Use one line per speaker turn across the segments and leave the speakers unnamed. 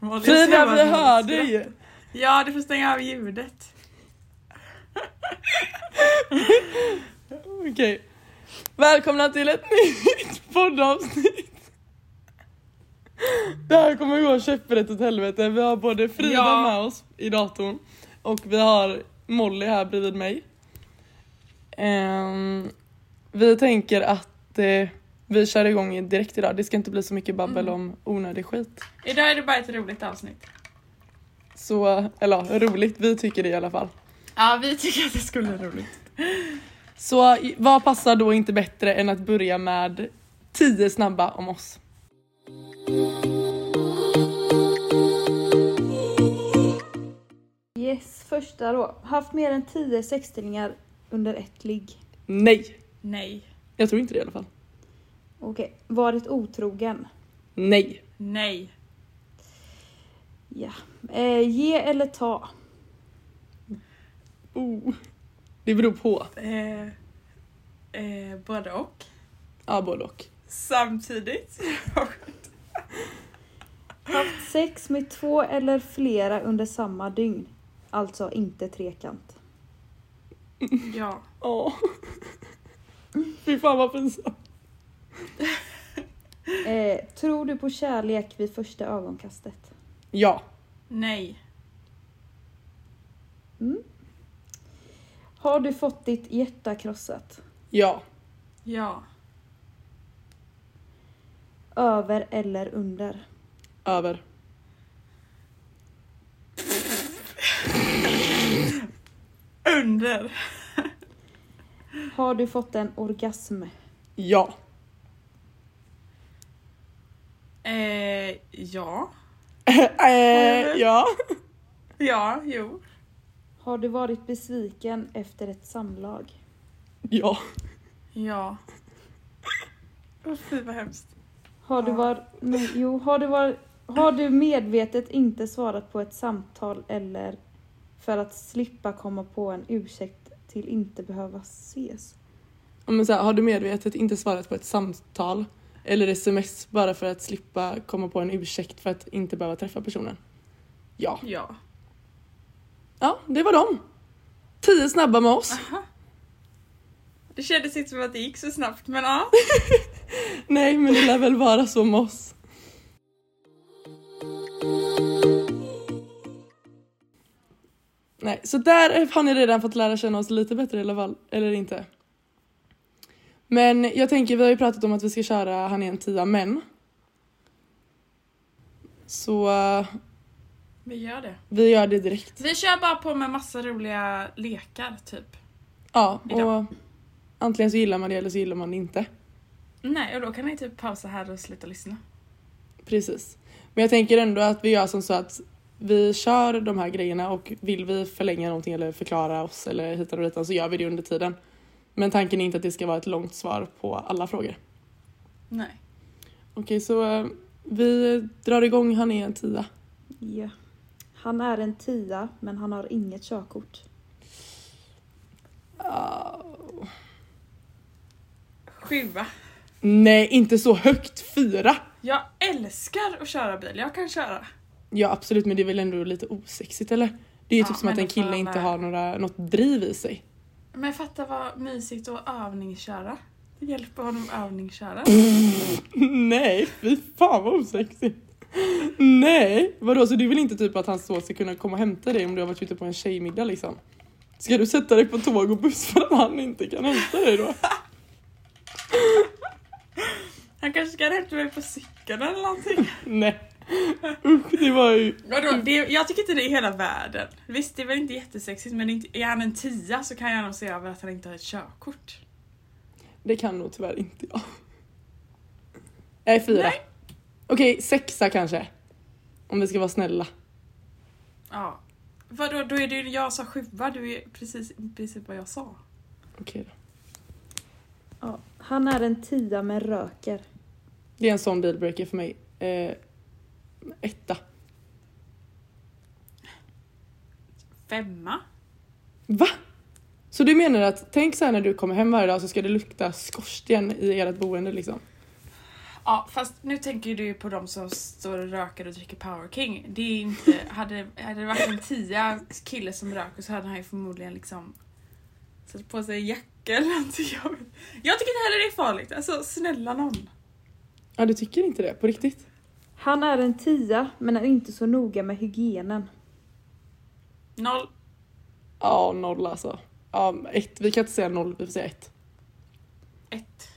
där vi
var
hörde
mysigt.
ju.
Ja, du får stänga av ljudet.
Okej. Välkomna till ett nytt poddavsnitt. Det här kommer gå käpprätt åt helvete. Vi har både Frida
Ja.
med oss i datorn och vi har Molly här bredvid mig. Ehm, vi tänker att eh, vi kör igång direkt idag. Det ska inte bli så mycket babbel
Mm.
om onödig skit.
Idag är det bara ett roligt avsnitt.
Så, eller ja, roligt, vi tycker det i alla fall.
Ja, vi tycker att det skulle vara roligt.
Så i- vad passar då inte bättre än att börja med 10 snabba om oss?
Yes, första då. Haft mer än 10 sextillingar under ett ligg.
Nej,
Nej,
jag tror inte det i alla fall.
Okej. Varit otrogen.
Nej,
nej,
Ja. Eh, ge eller ta.
oh. det beror på.
eh, eh, både och.
Ja, både och.
Samtidigt.
Haft sex med två eller flera under samma dygn. Alltså inte trekant.
ja.
Ja. Fy fan vad pinsamt.
Eh, tror du på kärlek vid första ögonkastet?
Ja,
Nej.
Har du fått ditt hjärta krossat?
ja,
Ja.
Över eller under?
över.
Under.
Har du fått en orgasm?
Ja,
Eh, ja.
eh, ja,
Ja, jo.
Har du varit besviken efter ett samlag?
ja,
Ja. Åh fy vad hemskt.
Har du
Ja.
var... Nej, jo, har du var... Har du medvetet inte svarat på ett samtal eller för att slippa komma på en ursäkt till inte behöva ses?
Ja, men så här, har du medvetet inte svarat på ett samtal eller sms bara för att slippa komma på en ursäkt för att inte behöva träffa personen? Ja.
Ja.
Ja, det var dem. Tio snabba med oss.
Det kändes inte som att det gick så snabbt men ja.
Nej, men det lär väl vara så med oss. Nej, så där har ni redan fått lära känna oss lite bättre i alla fall, eller inte. Men jag tänker, vi har ju pratat om att vi ska köra Han är en tia men. Så eh,
Vi gör det.
vi gör det direkt.
Vi kör bara på med massa roliga lekar typ.
Ja, och
Idag.
antingen så gillar man det eller så gillar man det inte.
Nej och då kan ni typ pausa här och sluta lyssna.
Precis. Men jag tänker ändå att vi gör som så att vi kör de här grejerna och vill vi förlänga någonting eller förklara oss eller hitan och ditan så gör vi det under tiden. Men tanken är inte att det ska vara ett långt svar på alla frågor.
Nej.
Okej, så eh, vi drar igång. Han är en tia.
Ja. Han är en tia, men han har inget körkort.
Ah. Sjua.
Nej, inte så högt. Fyra.
Jag älskar att köra bil, jag kan köra.
Ja, absolut, men det är väl ändå lite osexigt, eller? Det är ju
Ja,
typ som
men
att en
då får
kille
man
inte
väl-
har några, något driv i sig.
Men fatta vad mysigt att övningsköra. Det hjälper honom att övningsköra.
Nej, fy fan vad osexigt. Nej, vadå så du vill inte typ att han så ska kunna komma och hämta dig om du har varit ute på en tjejmiddag liksom? Ska du sätta dig på tåg och buss för att han inte kan hämta dig då?
Han kanske kan hämta mig på cykeln eller någonting.
Nej. Usch, det var ju...
Vadå? Det, jag tycker inte det är hela världen. Visst det är väl inte jättesexigt men det är, inte, är han en tia så kan jag nog se över att han inte har ett körkort.
Det kan nog tyvärr inte jag. Nej, fyra.
Nej.
Okej, sexa kanske. Om vi ska vara snälla.
Ja. Vadå, då är det ju jag som sjua, du är precis i princip vad jag sa.
Okej då.
Ja. Han är en tia, men röker.
Det är en sån dealbreaker för mig. Eh, etta.
Femma?
Va? Så du menar att tänk så här när du kommer hem varje dag så ska det lukta skorsten i ert boende liksom?
Ja fast nu tänker ju du på de som står och röker och dricker Power King. Det är inte, hade, hade det varit en tia kille som röker så hade han ju förmodligen liksom satt på sig en jacka eller någonting. Jag, vet- jag tycker inte heller det är farligt. Alltså snälla någon.
Ja, du tycker inte det? På riktigt?
Han är en tia men är inte så noga med hygienen.
Noll.
Ja, noll alltså. Ja, ett. Vi kan inte säga noll, vi får säga ett.
Ett.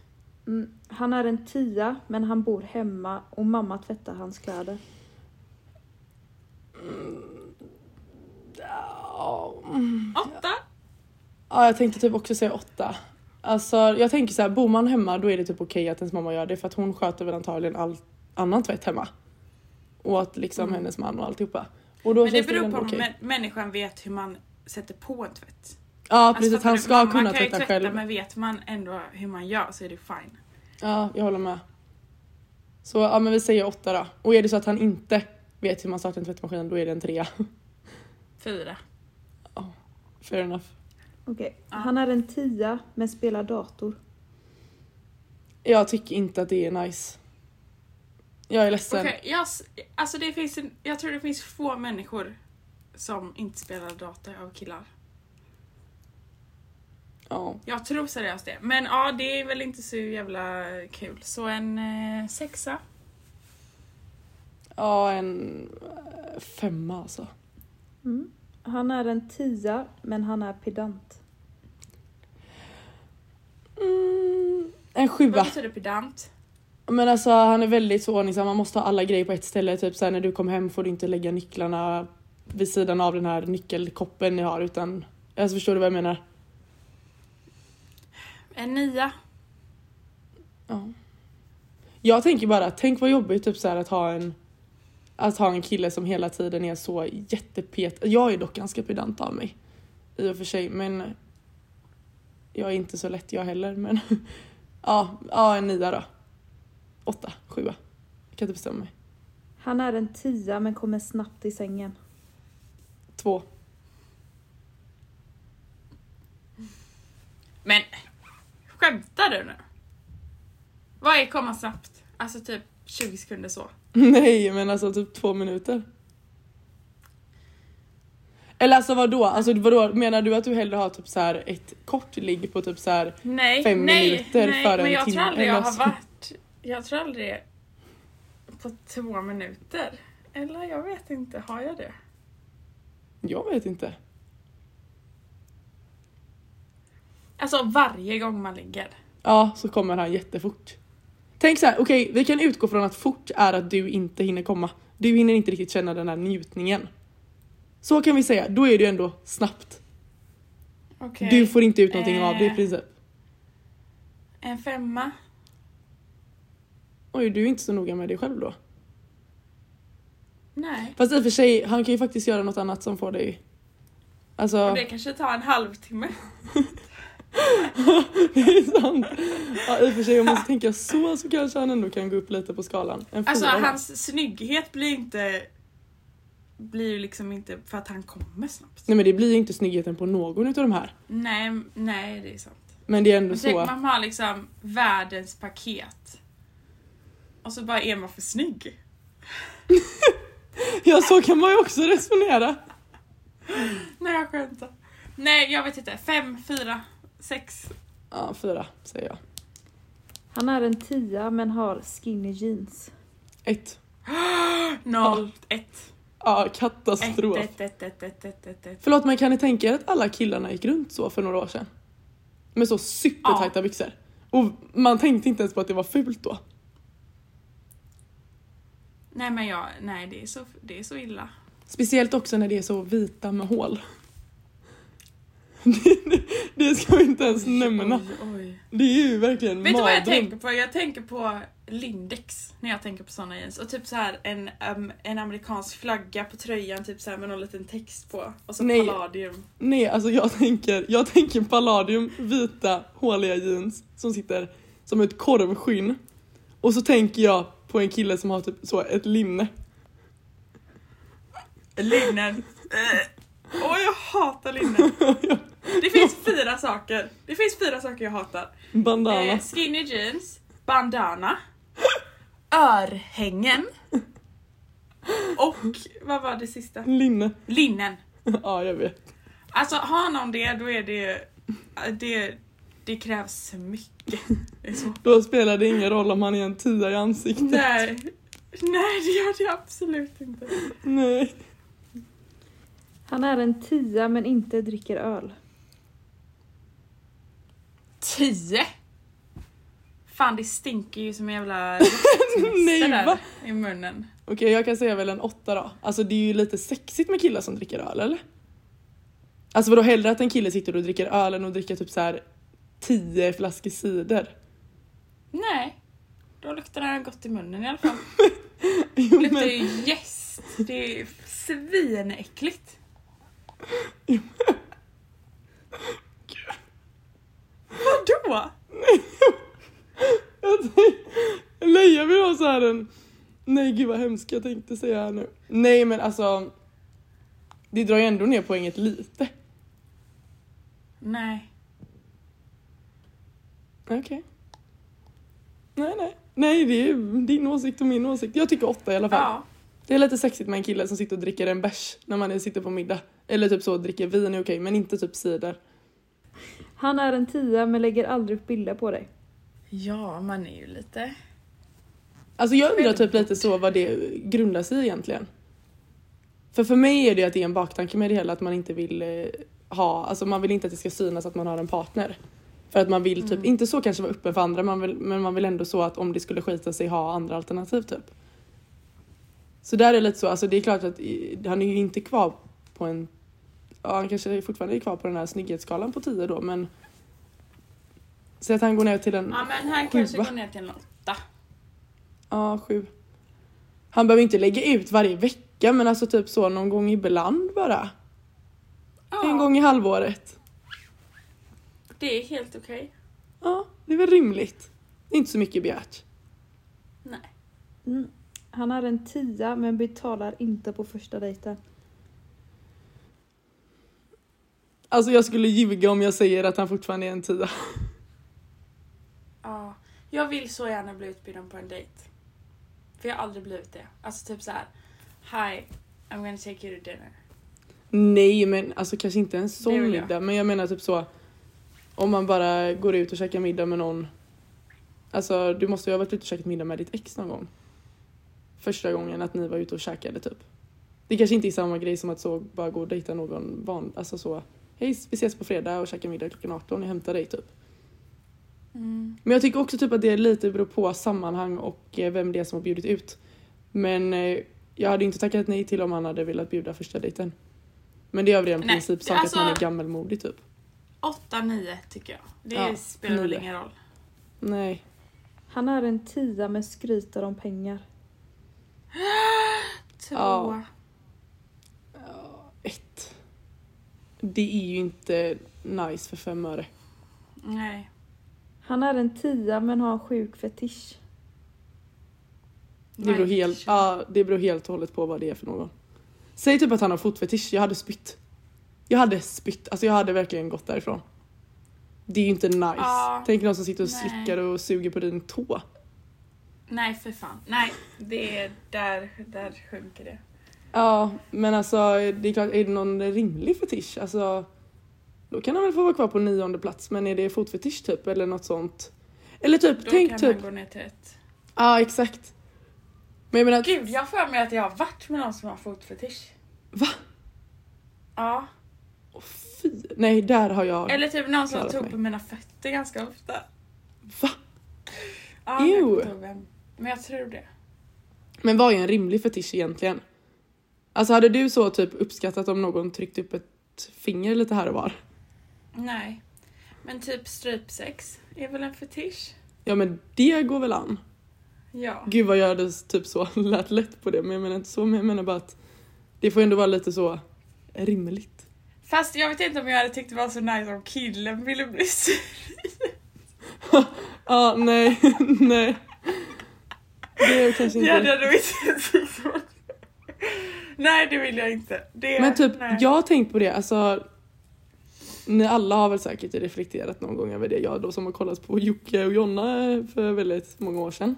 Mm, han är en tia men han bor hemma och mamma tvättar hans kläder.
Ja,
Åtta.
Ja, jag tänkte typ också säga åtta. Alltså, jag tänker så här, bor man hemma då är det typ okej att ens mamma gör det för att hon sköter väl antagligen all annan tvätt hemma. Och att liksom
Mm.
hennes man och alltihopa. Och då
Men det
känns väl
beror på
ändå
om
okej.
mä- människan vet hur man sätter på en tvätt.
Ja precis,
Alltså, för
han
det-
ska kunna
Man kan ju
tvätta,
tvätta
själv.
men vet man ändå hur man gör så är det fine.
Ja, jag håller med. Så ja, men vi säger åtta då. Och är det så att han inte vet hur man startar en tvättmaskin då är det en trea.
Fyra.
Fair enough.
Okej.
Ja.
Han är en tia men spelar dator.
Jag tycker inte att det är nice. Jag är ledsen.
Okej, jag, s- alltså det finns en, jag tror det finns få människor som inte spelar data av killar.
Ja.
Jag tror seriöst det. Men ja, det är väl inte så jävla kul. Så en eh, sexa.
ja, en eh, femma alltså.
Mm. Han är en tia men han är pedant.
Mm, en
Vad
sjua.
betyder pedant?
Men alltså han är väldigt så ordningsam, man måste ha alla grejer på ett ställe. Typ såhär när du kommer hem får du inte lägga nycklarna vid sidan av den här nyckelkoppen ni har utan... Alltså förstår du vad jag menar?
En nia.
Ja. Jag tänker bara, tänk vad jobbigt typ såhär att ha en... Att ha en kille som hela tiden är så jättepet. Jag är dock ganska pedant av mig. I och för sig men... Jag är inte så lätt jag heller men... ja, ja en nia då. Åtta, sjua. Jag kan inte bestämma mig.
Han är en tia men kommer snabbt i sängen.
Två.
Men skämtar du nu? Vad är komma snabbt? Alltså typ 20 sekunder så.
Nej, men alltså typ två minuter. Eller alltså vadå? Alltså vadå? Menar du att du hellre har typ så här ett kort ligg på typ så här
Nej,
Fem
nej,
minuter
nej,
före
men
en
jag
timme,
tror aldrig
eller
jag har
så.
varit... Jag tror aldrig på två minuter. Eller jag vet inte, har jag det?
jag vet inte.
Alltså varje gång man ligger.
Ja, så kommer han jättefort. Tänk så här, okej, vi kan utgå från att fort är att du inte hinner komma. Du hinner inte riktigt känna den här njutningen. Så kan vi säga, då är det ju ändå snabbt.
Okej.
Du får inte ut någonting av det i
Eh.
princip.
En femma.
Oj, du är inte så noga med dig själv då.
Nej.
Fast i och för sig, han kan ju faktiskt göra något annat som får dig... Alltså...
Och det kanske tar en halvtimme.
Det är sant. Ja, I och för sig om man ska tänka så så kanske han ändå kan gå upp lite på skalan. En
Alltså
fyra då.
hans snygghet blir inte... Blir ju liksom inte för att han kommer snabbt.
Nej men det blir ju inte snyggheten på någon utav de här.
Nej, nej det är sant.
Men det är ändå
Men tänk
så.
man har liksom världens paket. Och så bara är man för snygg.
Ja så kan man ju också resonera.
Nej jag skämtar. Nej jag vet inte, fem, fyra, sex.
Ja, fyra säger jag.
Han är en tia men har skinny jeans.
Ett.
Noll, ett.
Ja,
Ett,
katastrof.
ett, ett, ett, ett, ett, ett, ett.
Förlåt men kan ni tänka er att alla killarna gick runt så för några år sedan? Med så supertajta byxor. Och man tänkte inte ens på att det var fult då.
Nej men jag, nej det är så, det är så illa.
Speciellt också när det är så vita med hål. Det, det, det ska vi inte ens nämna.
Oj, oj.
Det är ju verkligen
Vet du vad jag
mardröm.
tänker på? Jag tänker på Lindex när jag tänker på såna jeans. Och typ så här en, ehm, en amerikansk flagga på tröjan typ så här med någon liten text på. Och så
Nej.
palladium.
Nej, alltså jag tänker, jag tänker palladium, vita, håliga jeans som sitter som ett korvskinn. Och så tänker jag på en kille som har typ så ett linne.
Linnen. Åh jag hatar linnen. Det finns fyra saker. Det finns fyra saker jag hatar.
Bandana.
Eh, skinny jeans, bandana, örhängen. Och vad var det sista?
Linne.
Linnen.
Ja, jag vet.
Alltså har någon det då är det... Det, det krävs mycket. Det är så.
Då spelar det ingen roll om han är en tia i ansiktet.
Nej. Nej det gör det absolut inte.
Nej.
Han är en tia men inte dricker öl.
Tio! Fan det stinker ju som en jävla råttsemester
Nej,
där
va?
i munnen.
Okej, jag kan säga väl en åtta då. Alltså det är ju lite sexigt med killar som dricker öl, eller? Alltså vadå, hellre att en kille sitter och dricker öl än att dricka typ så här tio flaskor cider?
Nej. Då luktar den gott i munnen i alla fall.
Jo,
Det luktar
men,
ju jäst. Det är svinäckligt. Vadå?
jag tänkte- Leja vill ha så här en... Nej gud vad hemskt jag tänkte säga här nu. Nej men alltså... Det drar ju ändå ner poänget lite.
Nej.
Okej. Nej, nej. Nej, det är ju din åsikt och min åsikt. Jag tycker åtta i alla fall.
Ja.
Det är lite sexigt med en kille som sitter och dricker en bärs när man sitter på middag. Eller typ så, dricker vin är okej, men inte typ cider.
Han är en tia men lägger aldrig upp bilder på dig.
Ja, man är ju lite...
Alltså jag undrar typ lite så vad det grundar sig i egentligen. För för mig är det ju att det är en baktanke med det hela att man inte vill eh, ha, alltså man vill inte att det ska synas att man har en partner. För att man vill typ, inte så kanske vara öppen för andra man vill, men man vill ändå så att om det skulle skita sig ha andra alternativ typ. Så där är lite så, alltså det är klart att i- han är ju inte kvar på en, ja han kanske fortfarande är kvar på den här snygghetsskalan på 10 då men. Säg att han går ner till en
Ja, men han kanske går ner till en åtta.
Ja, sju. Han behöver inte lägga ut varje vecka men alltså typ så någon gång ibland bara. En
Ja,
gång i halvåret.
det är helt okej.
Ja, det är väl rimligt. Det är inte så mycket begärt.
Nej.
Han är en tia men betalar inte på första dejten.
Alltså jag skulle ljuga om jag säger att han fortfarande är en tia.
Ja. Jag vill så gärna bli utbjuden på en dejt. För jag har aldrig blivit det. Alltså typ så här. Hi, I'm gonna take you to dinner.
Nej men alltså kanske inte en
Det
sån
vill jag.
middag men jag menar typ så om man bara går ut och käkar middag med någon. Alltså du måste ju ha varit ute och käkat middag med ditt ex någon gång. Första gången att ni var ute och käkade typ. Det kanske inte är samma grej som att så bara gå och dejta någon van, alltså så hej vi ses på fredag och käkar middag klockan 18 jag hämtar dig typ.
Mm.
Men jag tycker också typ att det lite beror på sammanhang och eh, vem det är som har bjudit ut. Men eh, jag hade inte tackat nej till om han hade velat bjuda första dejten. Men det är av ren
Nej,
principsak
alltså-
att man är gammelmodig typ.
Åtta, nio tycker jag. Det
Ja,
spelar väl
nio.
ingen roll.
Nej.
Han är en tia men skryter om pengar.
Två.
Ja. Ett. Det är ju inte nice för fem öre.
Nej.
Han är en tia men har en sjuk fetisch.
Det beror, helt, ja, det beror helt och hållet på vad det är för någon. Säg typ att han har fotfetisch, jag hade spytt. Jag hade spytt, alltså jag hade verkligen gått därifrån. Det är ju inte nice.
Ja.
Tänk någon som sitter och
Nej.
slickar och suger på din tå.
Nej för fan. Nej, det är där, där sjunker det.
Ja, men alltså det är klart, är det någon rimlig fetisch? Alltså, då kan han väl få vara kvar på nionde plats, men är det fotfetisch typ eller något sånt? Eller typ,
Då
tänk
kan
typ,
man gå ner till ett.
ja exakt. Men jag menar,
Gud, jag har för mig att jag har varit med någon som har fotfetisch.
Va?
Ja,
åh, fy, nej där har jag,
eller typ någon som
Klarat
tog
mig.
på mina fötter ganska ofta.
va?
Ja, men jag
Ew.
kommer inte ihåg vem. Men jag tror det.
Men vad är en rimlig fetisch egentligen? Alltså hade du så typ uppskattat om någon tryckte upp ett finger lite här och var?
Nej. Men typ strypsex är väl en fetisch?
Ja men det går väl an?
Ja.
Gud vad jag hade typ så lät lätt på det men jag menar inte så men jag menar bara att det får ändå vara lite så rimligt.
Fast jag vet inte om jag hade tyckt det var så nice om killen ville bli sur.
Ja, nej, nej. Det är kanske
Det hade
inte...
jag nog inte tyckt var- Nej, det vill jag inte. Det,
Men typ,
nej.
jag har tänkt på det, alltså. Ni alla har väl säkert reflekterat någon gång över det, jag då som har kollat på Jocke och Jonna för väldigt många år sedan.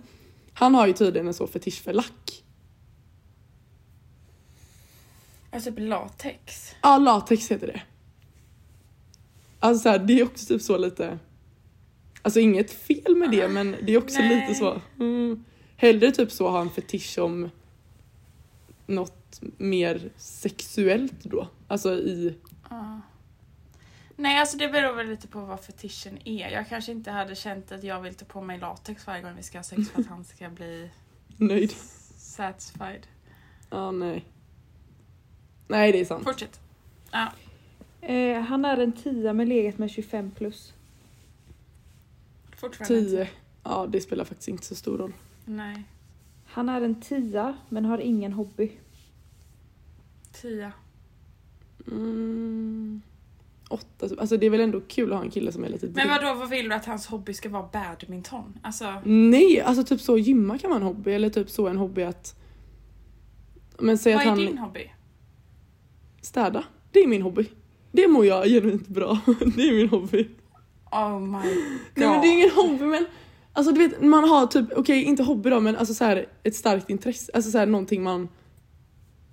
Han har ju tydligen en så fetisch för lack.
Alltså typ latex.
Ja, latex heter det. Alltså så här, det är också typ så lite... Alltså inget fel med det men det är också
Nej.
lite så... Mm. Hellre typ så ha en fetisch om något mer sexuellt då. Alltså i...
Ja. Nej, alltså det beror väl lite på vad fetischen är. Jag kanske inte hade känt att jag vill ta på mig latex varje gång vi ska ha sex för att han ska bli
Nöjd.
satisfied.
Ja, nej. Nej, det är sant.
Fortsätt.
Eh, han är en tia men legat med 25 plus.
Fortfarande.
Tio. Ja, det spelar faktiskt inte så stor roll.
Nej.
Han är en tia men har ingen hobby.
Tia.
Mm. Åtta, typ. alltså det är väl ändå kul att ha en kille som är lite
Men
dryg.
vadå, vad vill du att hans hobby ska vara badminton? Alltså,
Nej, alltså typ så gymma kan vara en hobby eller typ så en hobby att... Men säg
vad
att
är
han...
din hobby?
Städa. Det är min hobby. Det mår jag genuint bra. Det är min hobby.
Oh my god.
Nej men det är ingen hobby men... Alltså du vet, man har typ, okej inte hobby då men alltså så här ett starkt intresse, alltså så här någonting man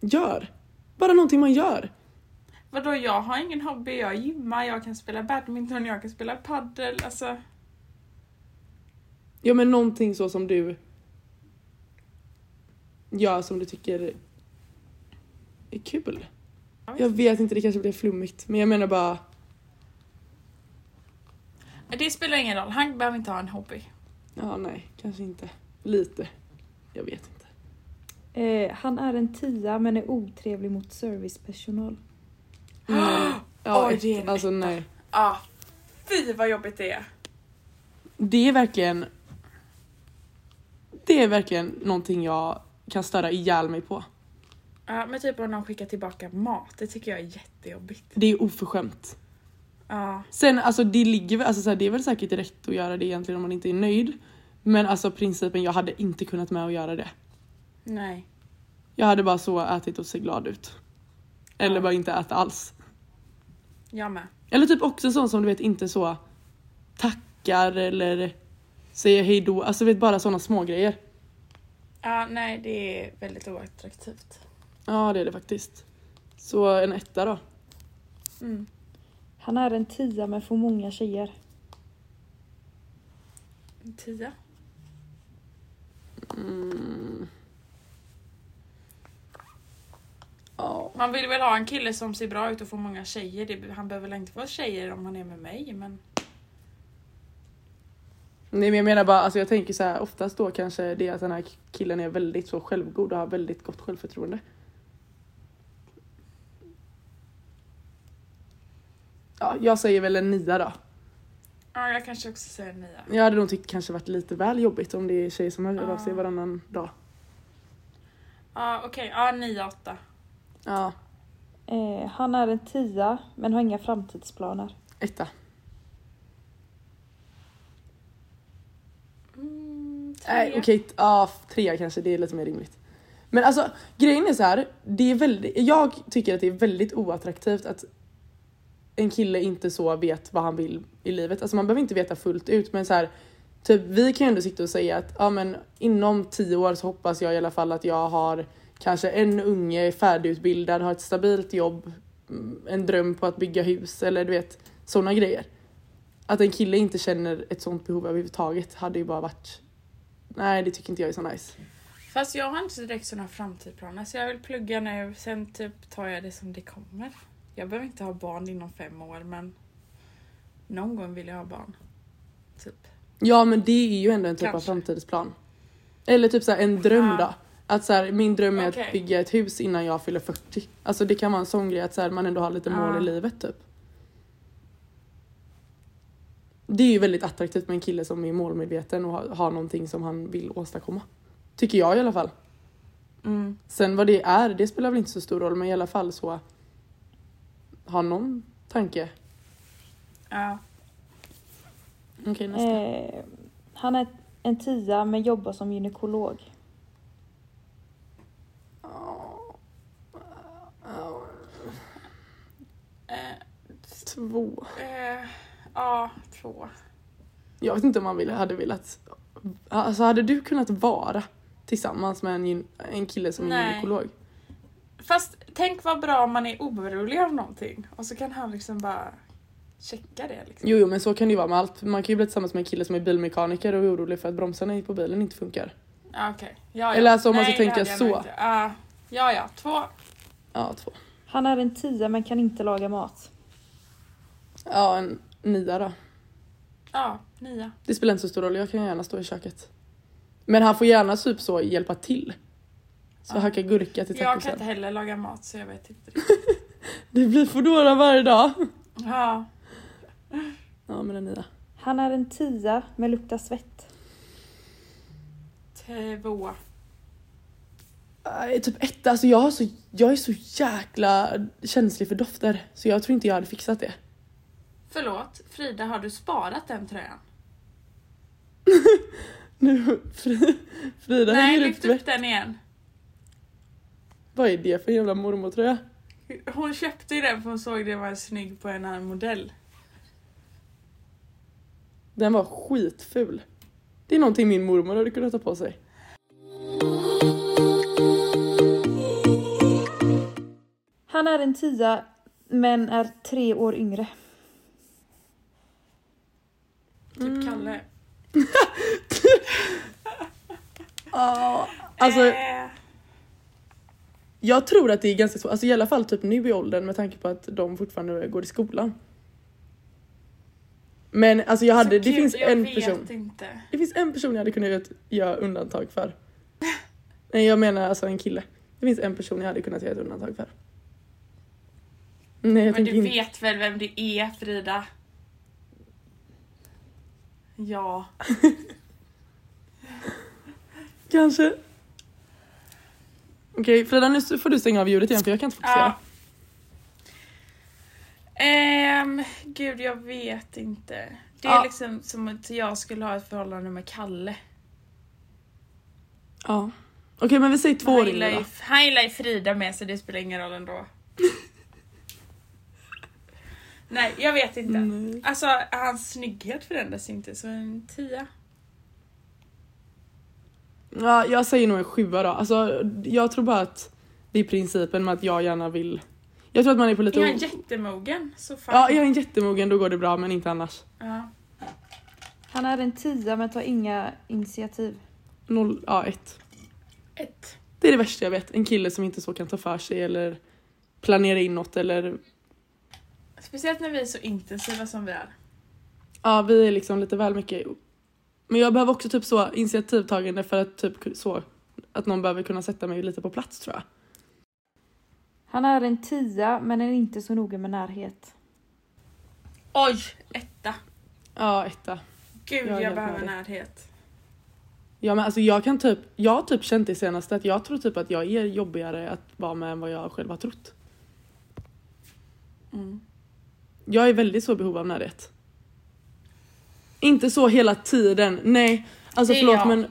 gör. Bara någonting man gör.
Vadå, jag har ingen hobby, jag gymmar, jag kan spela badminton, jag kan spela paddel. Alltså,
Ja men någonting så som du gör som du tycker är kul. Jag vet inte, det kanske blir flummigt men jag menar bara
det spelar ingen roll, han behöver inte ha en hobby.
Ja, nej, kanske inte. Lite. Jag vet inte.
Eh, han är en tia men är otrevlig mot servicepersonal.
Nej. Ja,
Oj,
ett-
det är en
alltså nej.
Ah, fy vad jobbigt det är.
Det är verkligen... Det är verkligen någonting jag kan störa ihjäl mig på.
Ja, men typ om någon skickar tillbaka mat, det tycker jag är jättejobbigt.
Det är oförskämt.
Ja,
Sen alltså det ligger väl, alltså så här, det är väl säkert rätt att göra det egentligen om man inte är nöjd. Men alltså principen, jag hade inte kunnat med att göra det.
nej.
Jag hade bara så ätit och sett glad ut. Eller
Ja.
bara inte äta alls.
Jag med.
Eller typ också sånt som du vet inte så tackar eller säger hejdå. Alltså du vet bara såna små grejer.
Ja, nej det är väldigt oattraktivt.
Ja det är det faktiskt. Så en etta då.
Mm.
Han är en tia men får många tjejer.
En Tia?
Mm. Ja.
Man vill väl ha en kille som ser bra ut och får många tjejer. Det, han behöver väl inte vara tjejer om han är med mig, men...
Nej men jag menar bara, alltså jag tänker så här oftast då kanske det är att den här killen är väldigt så självgod och har väldigt gott självförtroende. Ja, jag säger väl en nia då.
Ja, jag kanske också säger nia.
Jag hade nog tyckt kanske varit lite väl jobbigt om det är tjejer som hör av sig
Ja.
varannan dag.
Ja, okej. Ja, nia, åtta.
Ja,
Eh, han är en tia men har inga framtidsplaner.
etta.
Mm, trea.
Nej okej, t- ja trea kanske, det är lite mer rimligt. Men alltså grejen är så här, det är väldigt, jag tycker att det är väldigt oattraktivt att en kille inte så vet vad han vill i livet. Alltså man behöver inte veta fullt ut men så här, typ vi kan ju ändå sitta och säga att ja, men inom tio år så hoppas jag i alla fall att jag har kanske en unge, är färdigutbildad, har ett stabilt jobb, mm, en dröm på att bygga hus eller du vet sådana grejer. Att en kille inte känner ett sånt behov överhuvudtaget hade ju bara varit Nej det tycker inte jag är så nice.
Fast jag har inte så direkt sådana framtidsplaner, så jag vill plugga nu, sen typ tar jag det som det kommer. Jag behöver inte ha barn inom fem år, men någon gång vill jag ha barn. Typ.
Ja men det är ju ändå en typ av
Kanske.
framtidsplan. Eller typ så här, en dröm
Ah.
då. Att så här, min dröm är
Okej.
att bygga ett hus innan jag fyller 40. Alltså det kan vara en sån grej att så här, man ändå har lite mål
Ah.
i livet typ. Det är ju väldigt attraktivt med en kille som är målmedveten och har, har någonting som han vill åstadkomma. Tycker jag i alla fall.
Mm.
Sen vad det är, det spelar väl inte så stor roll men i alla fall så ha någon tanke.
Ja.
Okej nästa.
Eh, han är en tia men jobbar som gynekolog.
Eh,
Två.
eh, ja, två.
Jag vet inte om man ville, hade velat Alltså hade du kunnat vara tillsammans med en, gyn- en kille som är
Nej.
gynekolog?
Fast tänk vad bra om man är orolig av någonting och så kan han liksom bara checka det. Liksom.
Jo, jo men så kan det ju vara med allt. Man kan ju bli tillsammans med en kille som är bilmekaniker och är orolig för att bromsarna på bilen inte funkar.
Ja, okej. Ja, ja.
Eller alltså, om man
Nej,
ska
det
tänka
hade jag nog
så.
inte. Ah, ja, ja. Två.
Ja, två.
Han är en tia men kan inte laga mat.
Ja, en nia då.
Ja, nia.
Det spelar inte så stor roll, jag kan gärna stå i köket. Men han får gärna typ så hjälpa till. Så
Ja.
hacka gurka till
Jag kan inte
tacosen.
heller laga mat så jag vet inte riktigt.
Det blir foodora varje dag.
Ja.
Ja, men en nia.
Han är en tia men luktar svett.
Två.
Äh, Typ ett, alltså jag, har så, jag är så jäkla känslig för dofter så jag tror inte jag hade fixat det.
Förlåt, Frida, har du sparat den tröjan?
Nu, Fri- Frida
Nej,
hänger upp
lyft
tvätt.
upp den igen.
Vad är det för jävla mormortröja?
Hon köpte ju den för hon såg det var snygg på en annan modell.
Den var skitful. Det är någonting min mormor hade kunnat ta på sig.
Han är en tia men är tre år yngre.
Typ
Mm.
Kalle.
Ja, alltså
Eh,
jag tror att det är ganska svårt, alltså i alla fall typ nu i åldern med tanke på att de fortfarande går i skolan. Men alltså jag
så
hade, det
gud,
finns
jag
en
vet
person.
Inte.
Det finns en person jag hade kunnat göra ett- göra undantag för. Nej jag menar alltså en kille. Det finns en person jag hade kunnat göra ett undantag för. Nej jag
Men
tänker
du
inte.
vet väl vem det är, Frida? Ja.
Kanske. Okej Frida nu får du stänga av ljudet igen för jag kan inte fokusera.
ja. Ehm, gud, jag vet inte. Det är
Ja.
liksom som att jag skulle ha ett förhållande med Kalle.
Ja. Okej men vi säger två
Men
år
han gillar
yngre
ju-
då.
Han gillar ju Frida med så det spelar ingen roll ändå. Nej, jag vet inte.
Nej.
Alltså, hans snygghet förändras ju inte, så en tia.
Ja, jag säger nog en sjua då. Alltså, jag tror bara att det är principen med att jag gärna vill. Jag tror att man är på lite...
Är
o-
han jättemogen? Så fan.
ja, jag är en jättemogen, då går det bra men inte annars.
Ja.
Han är en tia men tar inga initiativ.
Noll, ja, ett.
Ett.
Det är det värsta jag vet. En kille som inte så kan ta för sig eller planera in något eller...
Speciellt när vi är så intensiva som vi är.
Ja, vi är liksom lite väl mycket... Men jag behöver också typ så initiativtagande för att typ så... Att någon behöver kunna sätta mig lite på plats tror jag.
Han är en tia men är inte så noga med närhet.
Oj! Etta.
Ja, etta.
Gud,
Jag är
jag,
helt
behöver
med dig.
närhet.
Ja men alltså jag kan typ, jag har typ känt det senaste att jag tror typ att jag är jobbigare att vara med än vad jag själv har trott.
Mm.
Jag är väldigt så i behov av närhet. Inte så hela tiden, nej. Alltså
Det är
förlåt
jag.
men.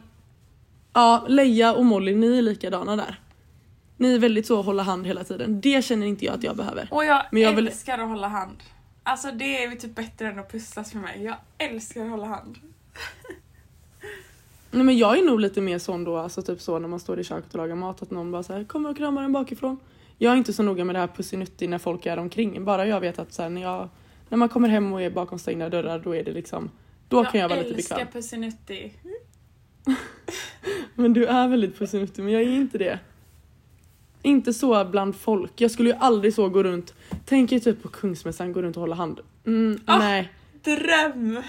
Ja, Leia och Molly, ni är likadana där. Ni är väldigt så hålla hand hela tiden. Det känner inte jag att jag behöver.
Och jag,
Men jag vill-
älskar att hålla hand. Alltså det är ju typ bättre än att pussas för mig. Jag älskar att hålla hand.
Nej men jag är nog lite mer sån då, alltså typ så när man står i köket och lagar mat att någon bara så här kommer och kramar en bakifrån. Jag är inte så noga med det här pussinutti när folk är omkring, bara jag vet att så här, när, jag, när man kommer hem och är bakom stängda dörrar då är det liksom, då kan jag vara lite
älskar
bekväm.
Pussinutti.
Men du är väldigt pussinutti men jag är inte det. Inte så bland folk, jag skulle ju aldrig så gå runt, tänk er typ på Kungsmässan, gå runt och hålla hand. Mm,
Ah.
Nej,
Dröm!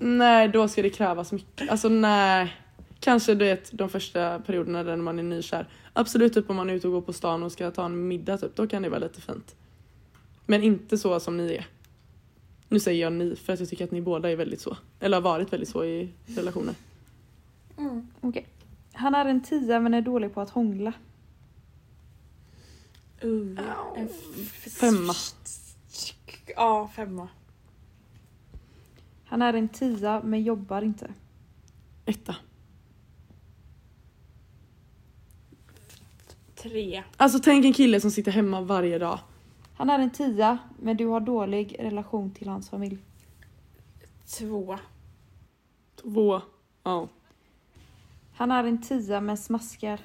nej då ska det krävas mycket, alltså nej. Kanske du vet de första perioderna där man är nykär. Absolut typ om man är ute och går på stan och ska ta en middag typ, då kan det vara lite fint. Men inte så som ni är. Nu säger jag ni för att jag tycker att ni båda är väldigt så. Eller har varit väldigt så i relationer.
Mm.
Han är en tia men är dålig på att hångla.
En f-
Femma.
Ja, femma.
Han är en tia men jobbar inte.
Etta.
Tre.
Alltså tänk en kille som sitter hemma varje dag.
Han är en tia men du har dålig relation till hans familj.
Två.
Två. Ja.
Han är en tia men smaskar.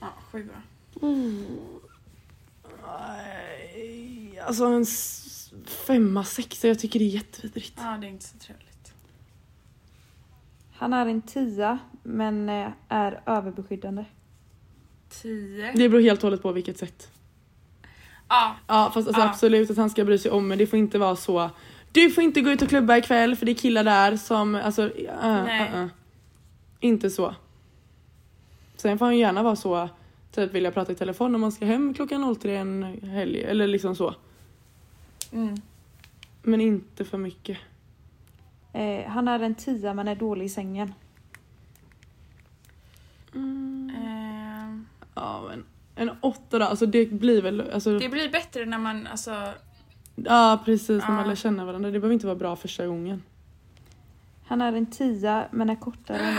Ja, sjua.
Nej, Alltså en s- femma, sexa, jag tycker det är jättevidrigt.
Ja, det är inte så trevligt.
Han är en tia men eh, är överbeskyddande.
Tio.
Det beror helt och hållet på vilket sätt.
Ja,
Ja fast alltså
Ja.
absolut att han ska bry sig om men det får inte vara så Du får inte gå ut och klubba ikväll för det är killar där som alltså äh,
Nej.
äh, äh. Inte så. Sen får han ju gärna vara så typ vill jag prata i telefon om man ska hem klockan 03 en helg eller liksom så.
mm.
Men inte för mycket.
Eh, han är en tia men är dålig i sängen.
Mm.
Ehm,
Ja men en åtta då, alltså det blir väl alltså
det blir bättre när man alltså...
Ja precis, när man
Ja.
lär känna varandra. Det behöver inte vara bra första gången.
Han är en tia men är kortare än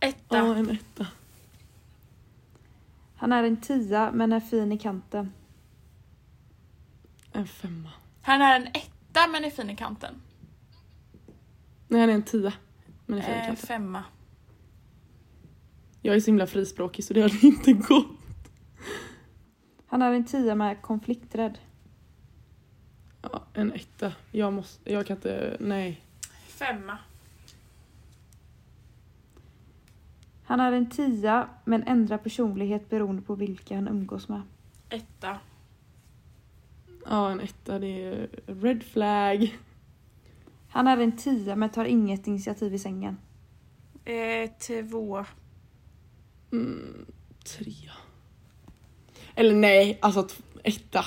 Etta.
Ja, en etta.
Han är en tia men är fin i kanten.
En femma.
Han är en etta men är fin i kanten.
Nej, han är en tia. Men en fin i
Eh,
kanten.
femma.
Jag är så himla frispråkig så det hade inte gått.
Han är en tia men är konflikträdd.
Ja, en etta. Jag måste, jag kan inte, nej.
Femma.
Han är en tia men ändrar personlighet beroende på vilka han umgås med.
Etta.
Ja, en etta det är red flag.
Han är en tia men tar inget initiativ i sängen.
Eh, två.
Mm, trea. Eller nej, alltså t- etta.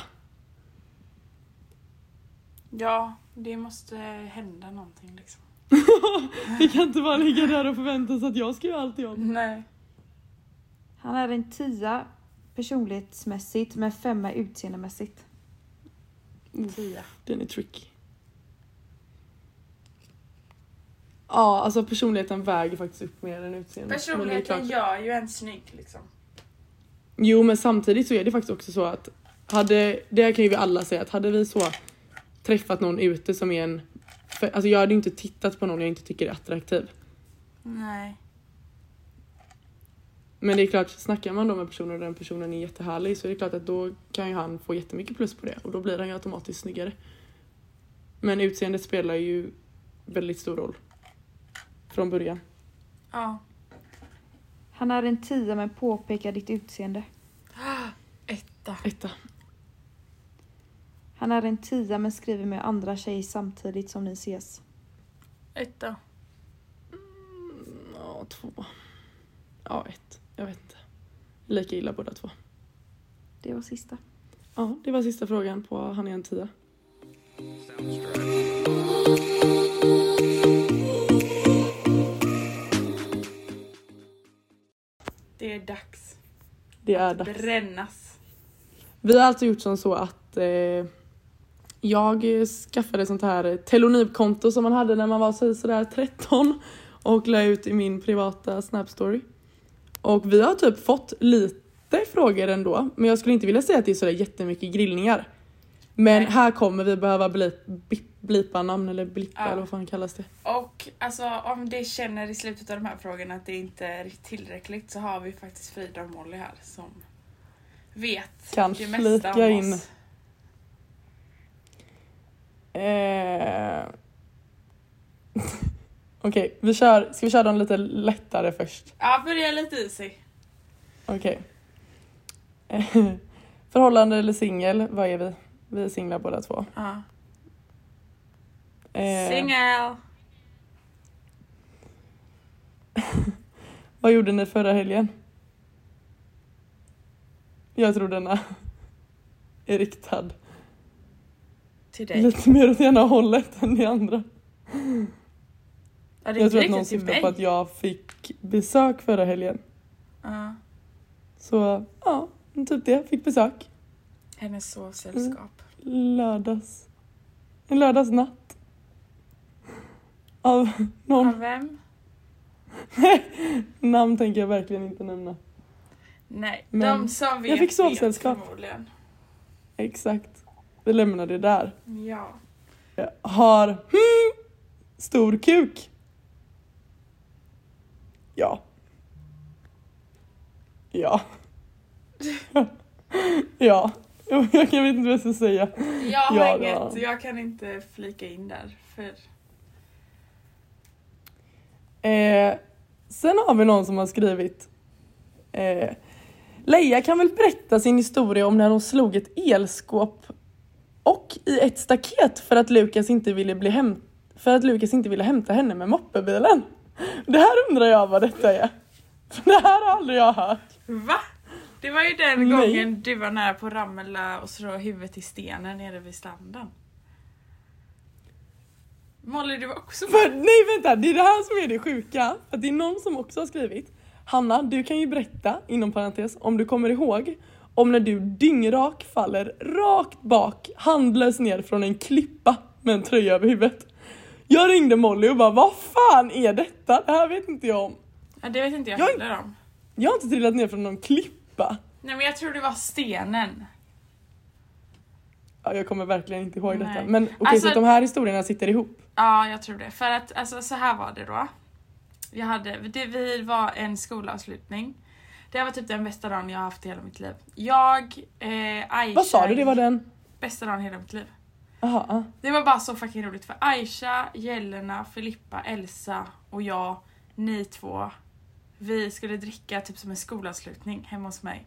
Ja, det måste hända någonting liksom.
Det kan inte bara ligga där och förvänta sig att jag ska göra allt jobb.
Nej.
Han är en tia personlighetsmässigt men femma utseendemässigt.
Tia.
Den är tricky. Ja, alltså personligheten väger faktiskt upp mer än utseendet. Men det är klart-
Personligheten gör ju en snygg liksom.
Jo men samtidigt så är det faktiskt också så att hade, det kan ju vi alla säga att hade vi så träffat någon ute som är en, för, alltså jag hade ju inte tittat på någon jag inte tycker är attraktiv.
Nej.
Men det är klart, snackar man då med personer och den personen är jättehärlig så är det klart att då kan ju han få jättemycket plus på det och då blir han ju automatiskt snyggare. Men utseendet spelar ju väldigt stor roll. Från början.
Ja.
Han är en tia men påpekar ditt utseende.
Etta.
Etta.
Han är en tia men skriver med andra tjejer samtidigt som ni ses.
Etta.
Ja, två. Ja, ett. Jag vet inte. Lika illa båda två.
Det var sista.
Ja, det var sista frågan på Han är en tia.
Det är dags.
Det är dags.
Brännas.
Vi har alltså gjort som så att eh, jag skaffade sånt här telonibkonto som man hade när man var så- sådär 13 och la ut i min privata Snapstory. Och vi har typ fått lite frågor ändå, men jag skulle inte vilja säga att det är sådär jättemycket grillningar. Men
Nej.
här kommer vi behöva blip, blip, blipa namn eller blippa
Ja.
eller vad fan kallas det.
Och alltså om det känner i slutet av de här frågorna att det inte är tillräckligt så har vi faktiskt Frida och Molly här som vet
Kan
det mesta
flika
om
in.
oss.
Eh... Okej, vi kör, ska vi köra dem lite lättare först?
Ja, börja lite easy.
Okej. Förhållande eller singel, vad är vi? Vi är singlar båda två.
Ja.
Eh,
Singel!
Vad gjorde ni förra helgen? Jag tror denna är riktad
Till dig.
lite mer åt ena hållet än de andra.
Ja, det är
Jag
inte
tror att
riktigt
någon
till
syftar
mig.
på att jag fick besök förra helgen.
Ja.
Så ja, typ det. Fick besök.
Hennes sovsällskap.
Mm. Lördags. En lördagsnatt. Av någon.
Av vem?
Namn tänker jag verkligen inte nämna.
Nej,
Men-
de som vet
Jag fick
vet
sovsällskap.
förmodligen.
Exakt. Vi lämnar det där.
Ja.
Jag har hmm, Stor kuk. Ja. Ja. ja. Jag jag vet inte vad jag ska säga.
Jag har
Ja, det var-
inget, jag kan inte flika in där. För
Eh, sen har vi någon som har skrivit. Eh, Leia kan väl berätta sin historia om när hon slog ett elskåp och i ett staket för att Lukas inte ville bli hem för att Lukas inte ville hämta henne med moppebilen. Det här undrar jag vad detta är. För Det här har aldrig jag hört.
Va? Det var ju den
Nej.
gången du var nära på att ramla och slå huvudet i stenen nere vid stranden. Molly, du var också
För, nej vänta, det är det här som är det sjuka. För att det är någon som också har skrivit. Hanna, du kan ju berätta, inom parentes, om du kommer ihåg, om när du dyngrak faller rakt bak, handlös ner från en klippa med en tröja över huvudet. Jag ringde Molly och bara, vad fan är detta? Det här vet inte jag om.
Ja, det vet inte jag
Jag-
heller om.
Jag har inte trillat ner från någon klippa.
Nej men jag tror det var stenen.
Ja, jag kommer verkligen inte ihåg detta.
Nej.
Men okej,
Alltså-
så att de här historierna sitter ihop.
Ja, jag tror det. För att alltså, så här var det då. Jag hade, det, vi var en skolavslutning. Det här var typ den bästa dagen jag har haft i hela mitt liv. Jag, eh, Aisha...
Vad sa du, det var den?
Bästa dagen i hela mitt liv.
Aha, ah.
Det var bara så fucking roligt för Aisha, Jelena, Filippa, Elsa och jag, ni två, vi skulle dricka typ som en skolavslutning hemma hos mig.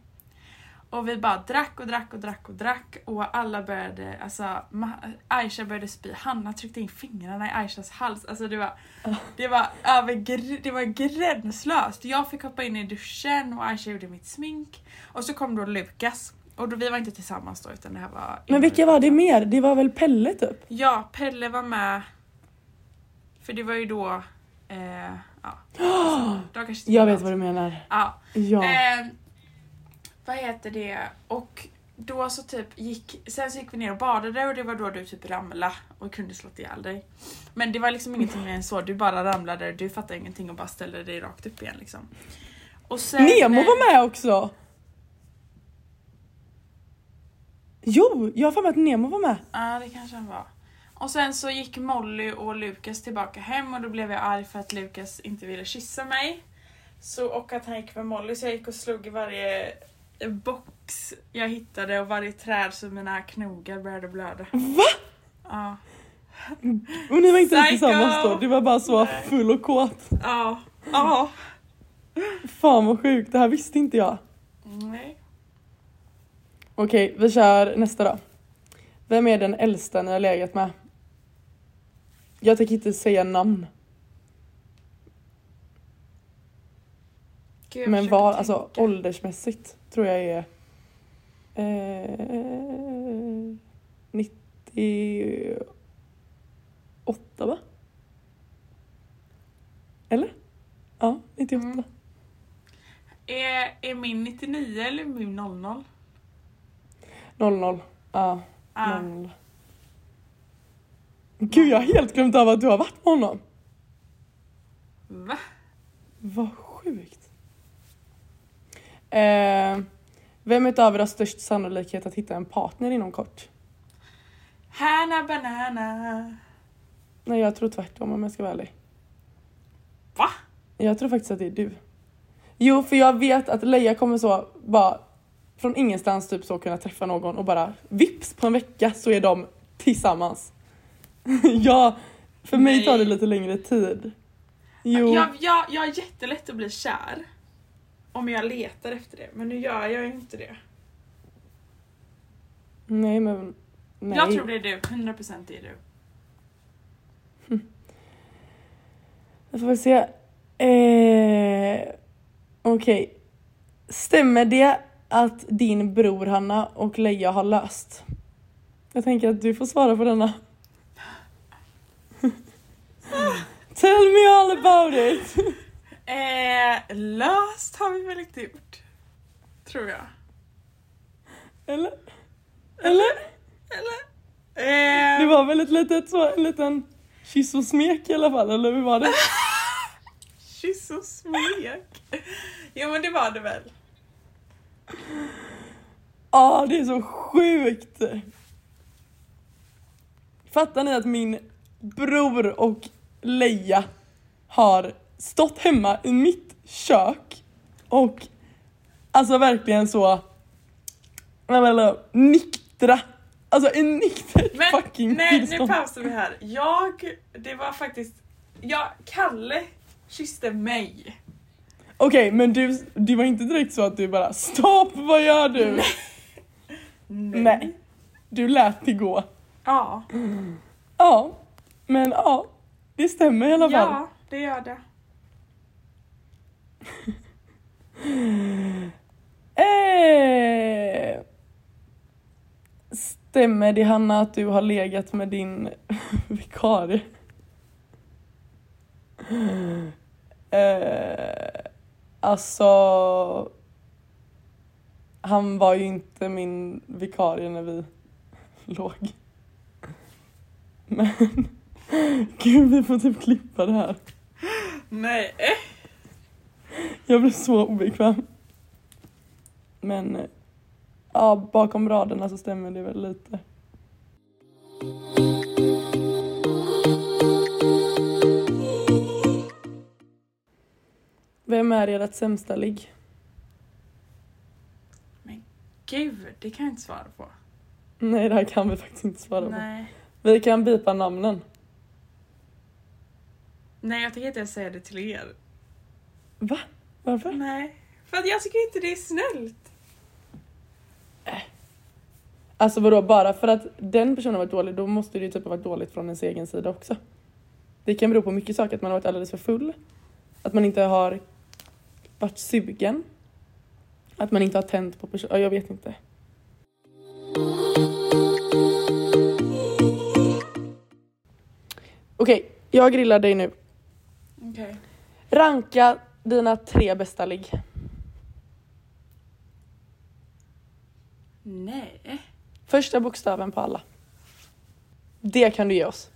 Och vi bara drack och drack och drack och drack och alla började, alltså Ma- Aisha började spy, Hanna tryckte in fingrarna i Aishas hals. Alltså det var,
Ah.
det var, över, gr- det var gränslöst. Jag fick hoppa in i duschen och Aisha gjorde mitt smink. Och så kom då Lukas. Och då, vi var inte tillsammans då utan det här var...
Men vilka var det mer? Det var väl Pelle typ?
Ja, Pelle var med. För det var ju då... Eh, ja. Då kanske
Jag vet vad du menar.
Ja.
Ja.
Eh, vad heter det? Och då så typ gick... Sen så gick vi ner och badade och det var då du typ ramlade och kunde slått ihjäl dig. Men det var liksom ingenting mer än så. Du bara ramlade, du fattade ingenting och bara ställde dig rakt upp igen liksom. Och sen, eh,
Nemo var med också! Jo, jag har för mig att Nemo var med.
Ja, det kanske han var. Och sen så gick Molly och Lukas tillbaka hem och då blev jag arg för att Lukas inte ville kyssa mig. Så, och att han gick med Molly så jag gick och slog i varje box jag hittade och varje träd så mina knogar började blöda.
Va?
Ja,
Och ni var inte ens
Psycho!
tillsammans då, det var bara så
Nej.
full och kåt.
ja, ja.
Fan vad sjukt, det här visste inte jag.
Nej.
Okej, vi kör nästa då. Vem är den äldsta ni har legat med? Jag tänker inte säga namn,
Gud, jag
men
försöker
var,
tänka.
alltså åldersmässigt tror jag är... Eh, 98 va? Eller? Ja, 98.
Mm. Är, är min 99 eller min 00?
00. Ja,
Ja.
00. Gud, jag har helt glömt av att du har varit med honom.
Va?
Vad sjukt. Eh, vem utav er har störst sannolikhet att hitta en partner inom kort?
Hanna banana.
Nej, jag tror tvärtom om jag ska vara ärlig.
Va?
Jag tror faktiskt att det är du. Jo, för jag vet att Leia kommer så bara från ingenstans typ så kunna träffa någon och bara vips på en vecka så är de tillsammans. ja, för mig
Nej.
tar det lite längre tid. Jo,
Jag, jag, jag är jättelätt att bli kär. Om jag letar efter det, men nu gör jag ju inte det.
nej men nej.
Jag tror det är du, 100% det är du.
Jag får väl se. Eh, Okej. Stämmer det att din bror Hanna och Leia har löst? Jag tänker att du får svara på denna. Tell me all about it!
Eh, löst har vi väl inte gjort? Tror jag.
Eller? Eller?
Eller? Eh,
Det var väl ett litet så, en liten kyss och smek i alla fall, eller hur var det?
Kyss och smek. jo men det var det väl.
Ja, det är så sjukt! Fattar ni att min bror och Leia har stått hemma i mitt kök och alltså verkligen så eller, nyktra, alltså en nykter
Men
fucking
nej, nu pausar vi här. Jag, det var faktiskt, jag, Kalle kysste mig.
Okej men du, det var inte direkt så att du bara stopp vad gör du?
Nej.
Nej. Du lät det gå.
Ja.
Ja, men ja, det stämmer i alla fall.
Ja, det gör det.
Eh, stämmer det Hanna att du har legat med din vikarie? Eh, alltså, han var ju inte min vikarie när vi låg. Men gud, vi får typ klippa det här.
Nej.
Jag blev så obekväm. Men eh, ja, bakom raderna så stämmer det väl lite. Vem är ert sämsta ligg?
Gud, det kan jag inte svara på.
Nej, det här kan vi faktiskt inte svara på.
Nej.
Vi kan bipa namnen.
Nej, jag tänker inte ens säga det till er.
Varför?
Nej. För att jag tycker inte det är snällt.
Alltså vadå, bara för att den personen har varit dålig då måste det ju typ ha varit dåligt från ens egen sida också. Det kan bero på mycket saker, att man har varit alldeles för full, att man inte har varit sugen, att man inte har tänt på personen, ja, jag vet inte. Okej, jag grillar dig nu.
Okej.
Ranka dina tre bästa ligg.
Nej.
Första bokstaven på alla. Det kan du ge oss.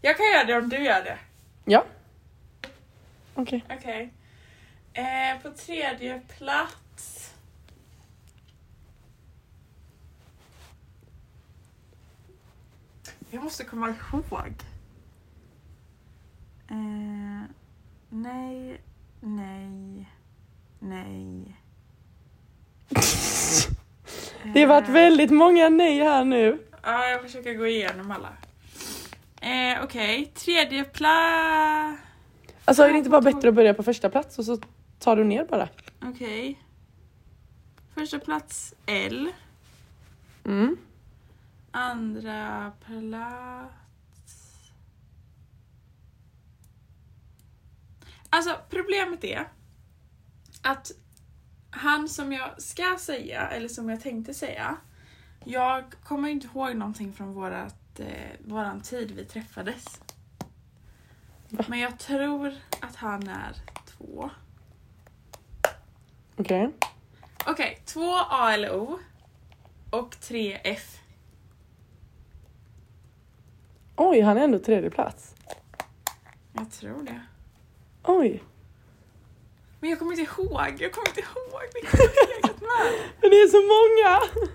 Jag kan göra det om du gör det.
Ja. Okej.
Okej. Eh, på tredje plats. Jag måste komma ihåg. Eh, nej, nej, nej.
Det har varit
Eh,
väldigt många nej här nu.
Ja, jag försöker gå igenom alla. Eh, Okej, tredje plats.
Alltså är det inte bara bättre att börja på första plats och så tar du ner bara?
Okej. Första plats L.
Mm.
Andra plats... Alltså problemet är att han som jag ska säga, eller som jag tänkte säga, jag kommer inte ihåg någonting från vårat, eh, våran tid vi träffades. Men jag tror att han är två.
Okej.
Okej, två A eller O och tre F.
Oj, han är ändå tredje plats.
Jag tror det.
Oj.
Men jag kommer inte ihåg, jag kommer inte ihåg vilka jag har legat med.
Men det är så många!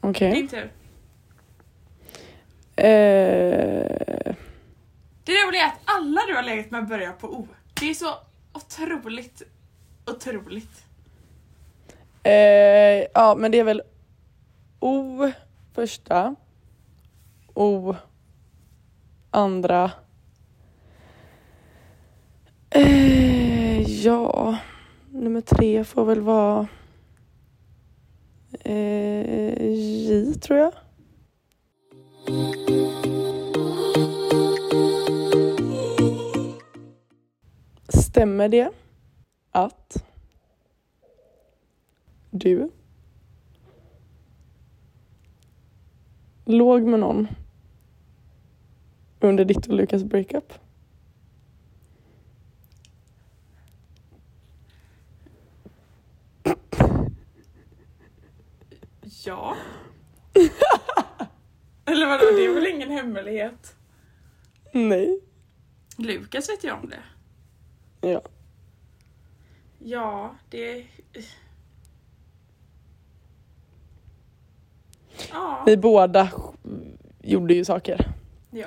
Okej.
Din tur.
Eh,
Det roliga är att alla du har legat med börjar på O. Det är så otroligt, otroligt.
eh, ja, men det är väl O första. O andra. Eh, ja, nummer tre får väl vara eh, J tror jag. Stämmer det att du låg med någon under ditt och Lukas breakup?
Ja. Eller vadå, det är väl ingen hemlighet?
Nej.
Lukas vet ju om det.
Ja.
Ja, det... Ja.
Vi båda gjorde ju saker.
ja.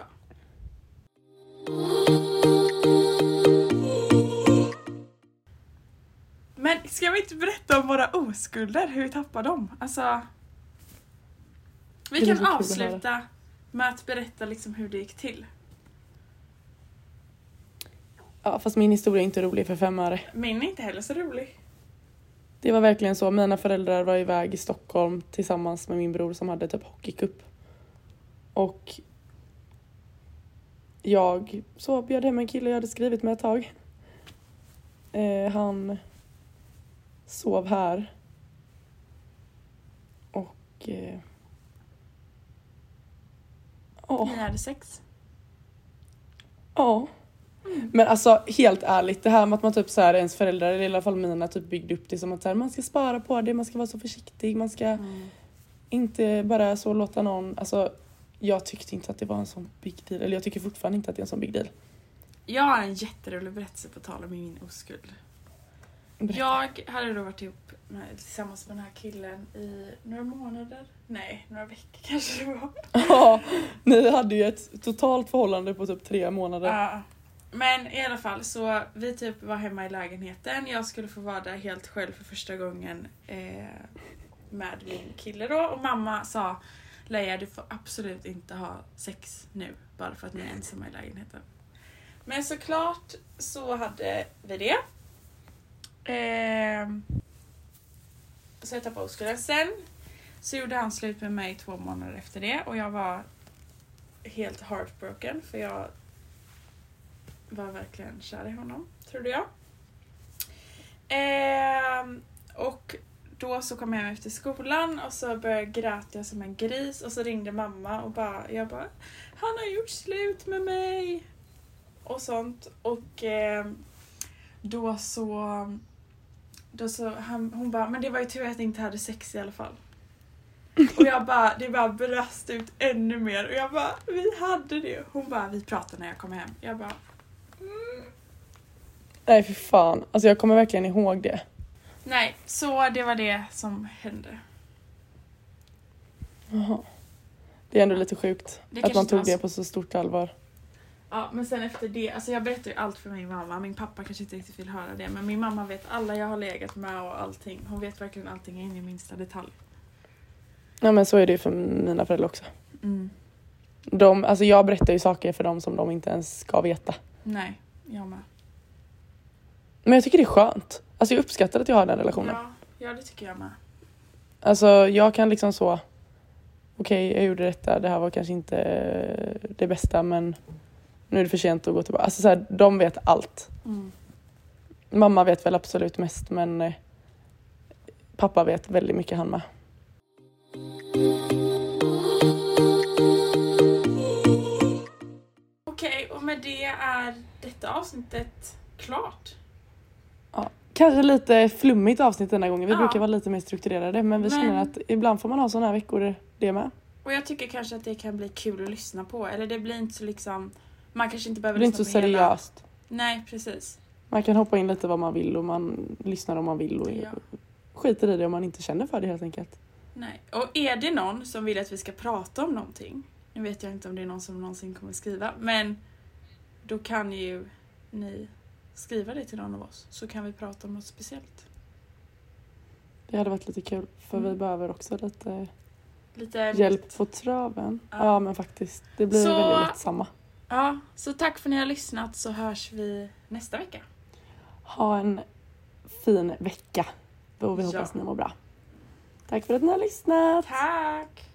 Men ska vi inte berätta om våra oskulder, hur vi tappar dem? Alltså... Vi
Det är så
kan
kul att
avsluta med att berätta liksom hur det gick till.
Ja, fast min historia är inte rolig för fem öre.
Min är inte heller så rolig.
Det var verkligen så. Mina föräldrar var iväg i Stockholm tillsammans med min bror som hade typ hockeycup. Och jag så bjöd hem en kille jag hade skrivit med ett tag. Eh, han sov här. Och... Eh, ja.
Ni hade sex.
Ja. Men alltså helt ärligt, det här med att man typ så här, ens föräldrar, eller i alla fall mina, typ byggde upp det som att så här, man ska spara på det, man ska vara så försiktig, man ska
Mm.
inte bara så låta någon, alltså jag tyckte inte att det var en sån big deal, eller jag tycker fortfarande inte att det är en sån big deal.
Jag har en jätterolig berättelse på tal om min oskuld.
Berätta.
Jag hade då varit ihop med, tillsammans med den här killen i några månader. Nej, några veckor kanske det var.
Ja, ni hade ju ett totalt förhållande på typ tre månader.
Ja. Men i alla fall så vi typ var hemma i lägenheten. Jag skulle få vara där helt själv för första gången eh, med min kille då. Och mamma sa Leia du får absolut inte ha sex nu bara för att ni är ensamma i lägenheten. Men såklart så hade vi det. Eh, så jag tappade oskulden. Sen så gjorde han slut med mig två månader efter det och jag var helt heartbroken för jag var verkligen kär i honom, trodde jag. Ehm, och då så kom jag hem efter skolan och så började jag gräta som en gris och så ringde mamma och bara, jag bara Han har gjort slut med mig! Och sånt. Och ehm, då så, då så han, hon bara, men det var ju tur att jag inte hade sex i alla fall. Och jag bara, det bara brast ut ännu mer och jag bara, vi hade det. Hon bara, vi pratar när jag kommer hem. Jag bara,
Nej för fan, alltså jag kommer verkligen ihåg det.
Nej, så det var det som hände.
Jaha. Det är ändå lite sjukt
Det
att
kanske
man
inte
tog
var
det
så-
på så stort allvar.
Ja, men sen efter det, alltså jag berättar ju allt för min mamma. Min pappa kanske inte riktigt vill höra det, men min mamma vet alla jag har legat med och allting. Hon vet verkligen allting in i minsta detalj.
Ja men så är det ju för mina föräldrar också. Mm. De, alltså jag berättar ju saker för dem som de inte ens ska veta.
Nej, jag med.
Men jag tycker det är skönt. Alltså jag uppskattar att jag har den relationen.
Ja, ja, det tycker jag med.
Alltså jag kan liksom så, okej jag gjorde detta, det här var kanske inte eh, det bästa men nu är det för sent att gå tillbaka. Alltså så här, de vet allt. Mamma vet väl absolut mest men eh, pappa vet väldigt mycket han med.
Okej, och med det är detta avsnittet klart.
Kanske lite flummigt avsnitt denna gången. Vi
Ja.
brukar vara lite mer strukturerade men vi
Men-
känner att ibland får man ha sådana här veckor det med.
Och jag tycker kanske att det kan bli kul att lyssna på. Eller det blir inte så liksom, man kanske inte
Det
behöver
blir inte så
lyssna på liksom hela.
seriöst.
Nej, precis.
Man kan hoppa in lite vad man vill och man lyssnar om man vill och
Ja.
skiter i det om man inte känner för det helt enkelt.
Nej. Och är det någon som vill att vi ska prata om någonting, nu vet jag inte om det är någon som någonsin kommer skriva, men då kan ju ni skriva det till någon av oss så kan vi prata om något speciellt.
Det hade varit lite kul för vi
Mm.
behöver också lite
Lite
hjälp på traven.
Ja.
Ja, men faktiskt. Det blir
Så-
väldigt lätt samma.
Ja, så tack för att ni har lyssnat så hörs vi nästa vecka.
Ha en fin vecka och vi hoppas ni mår bra. Tack för att ni har lyssnat.
Tack!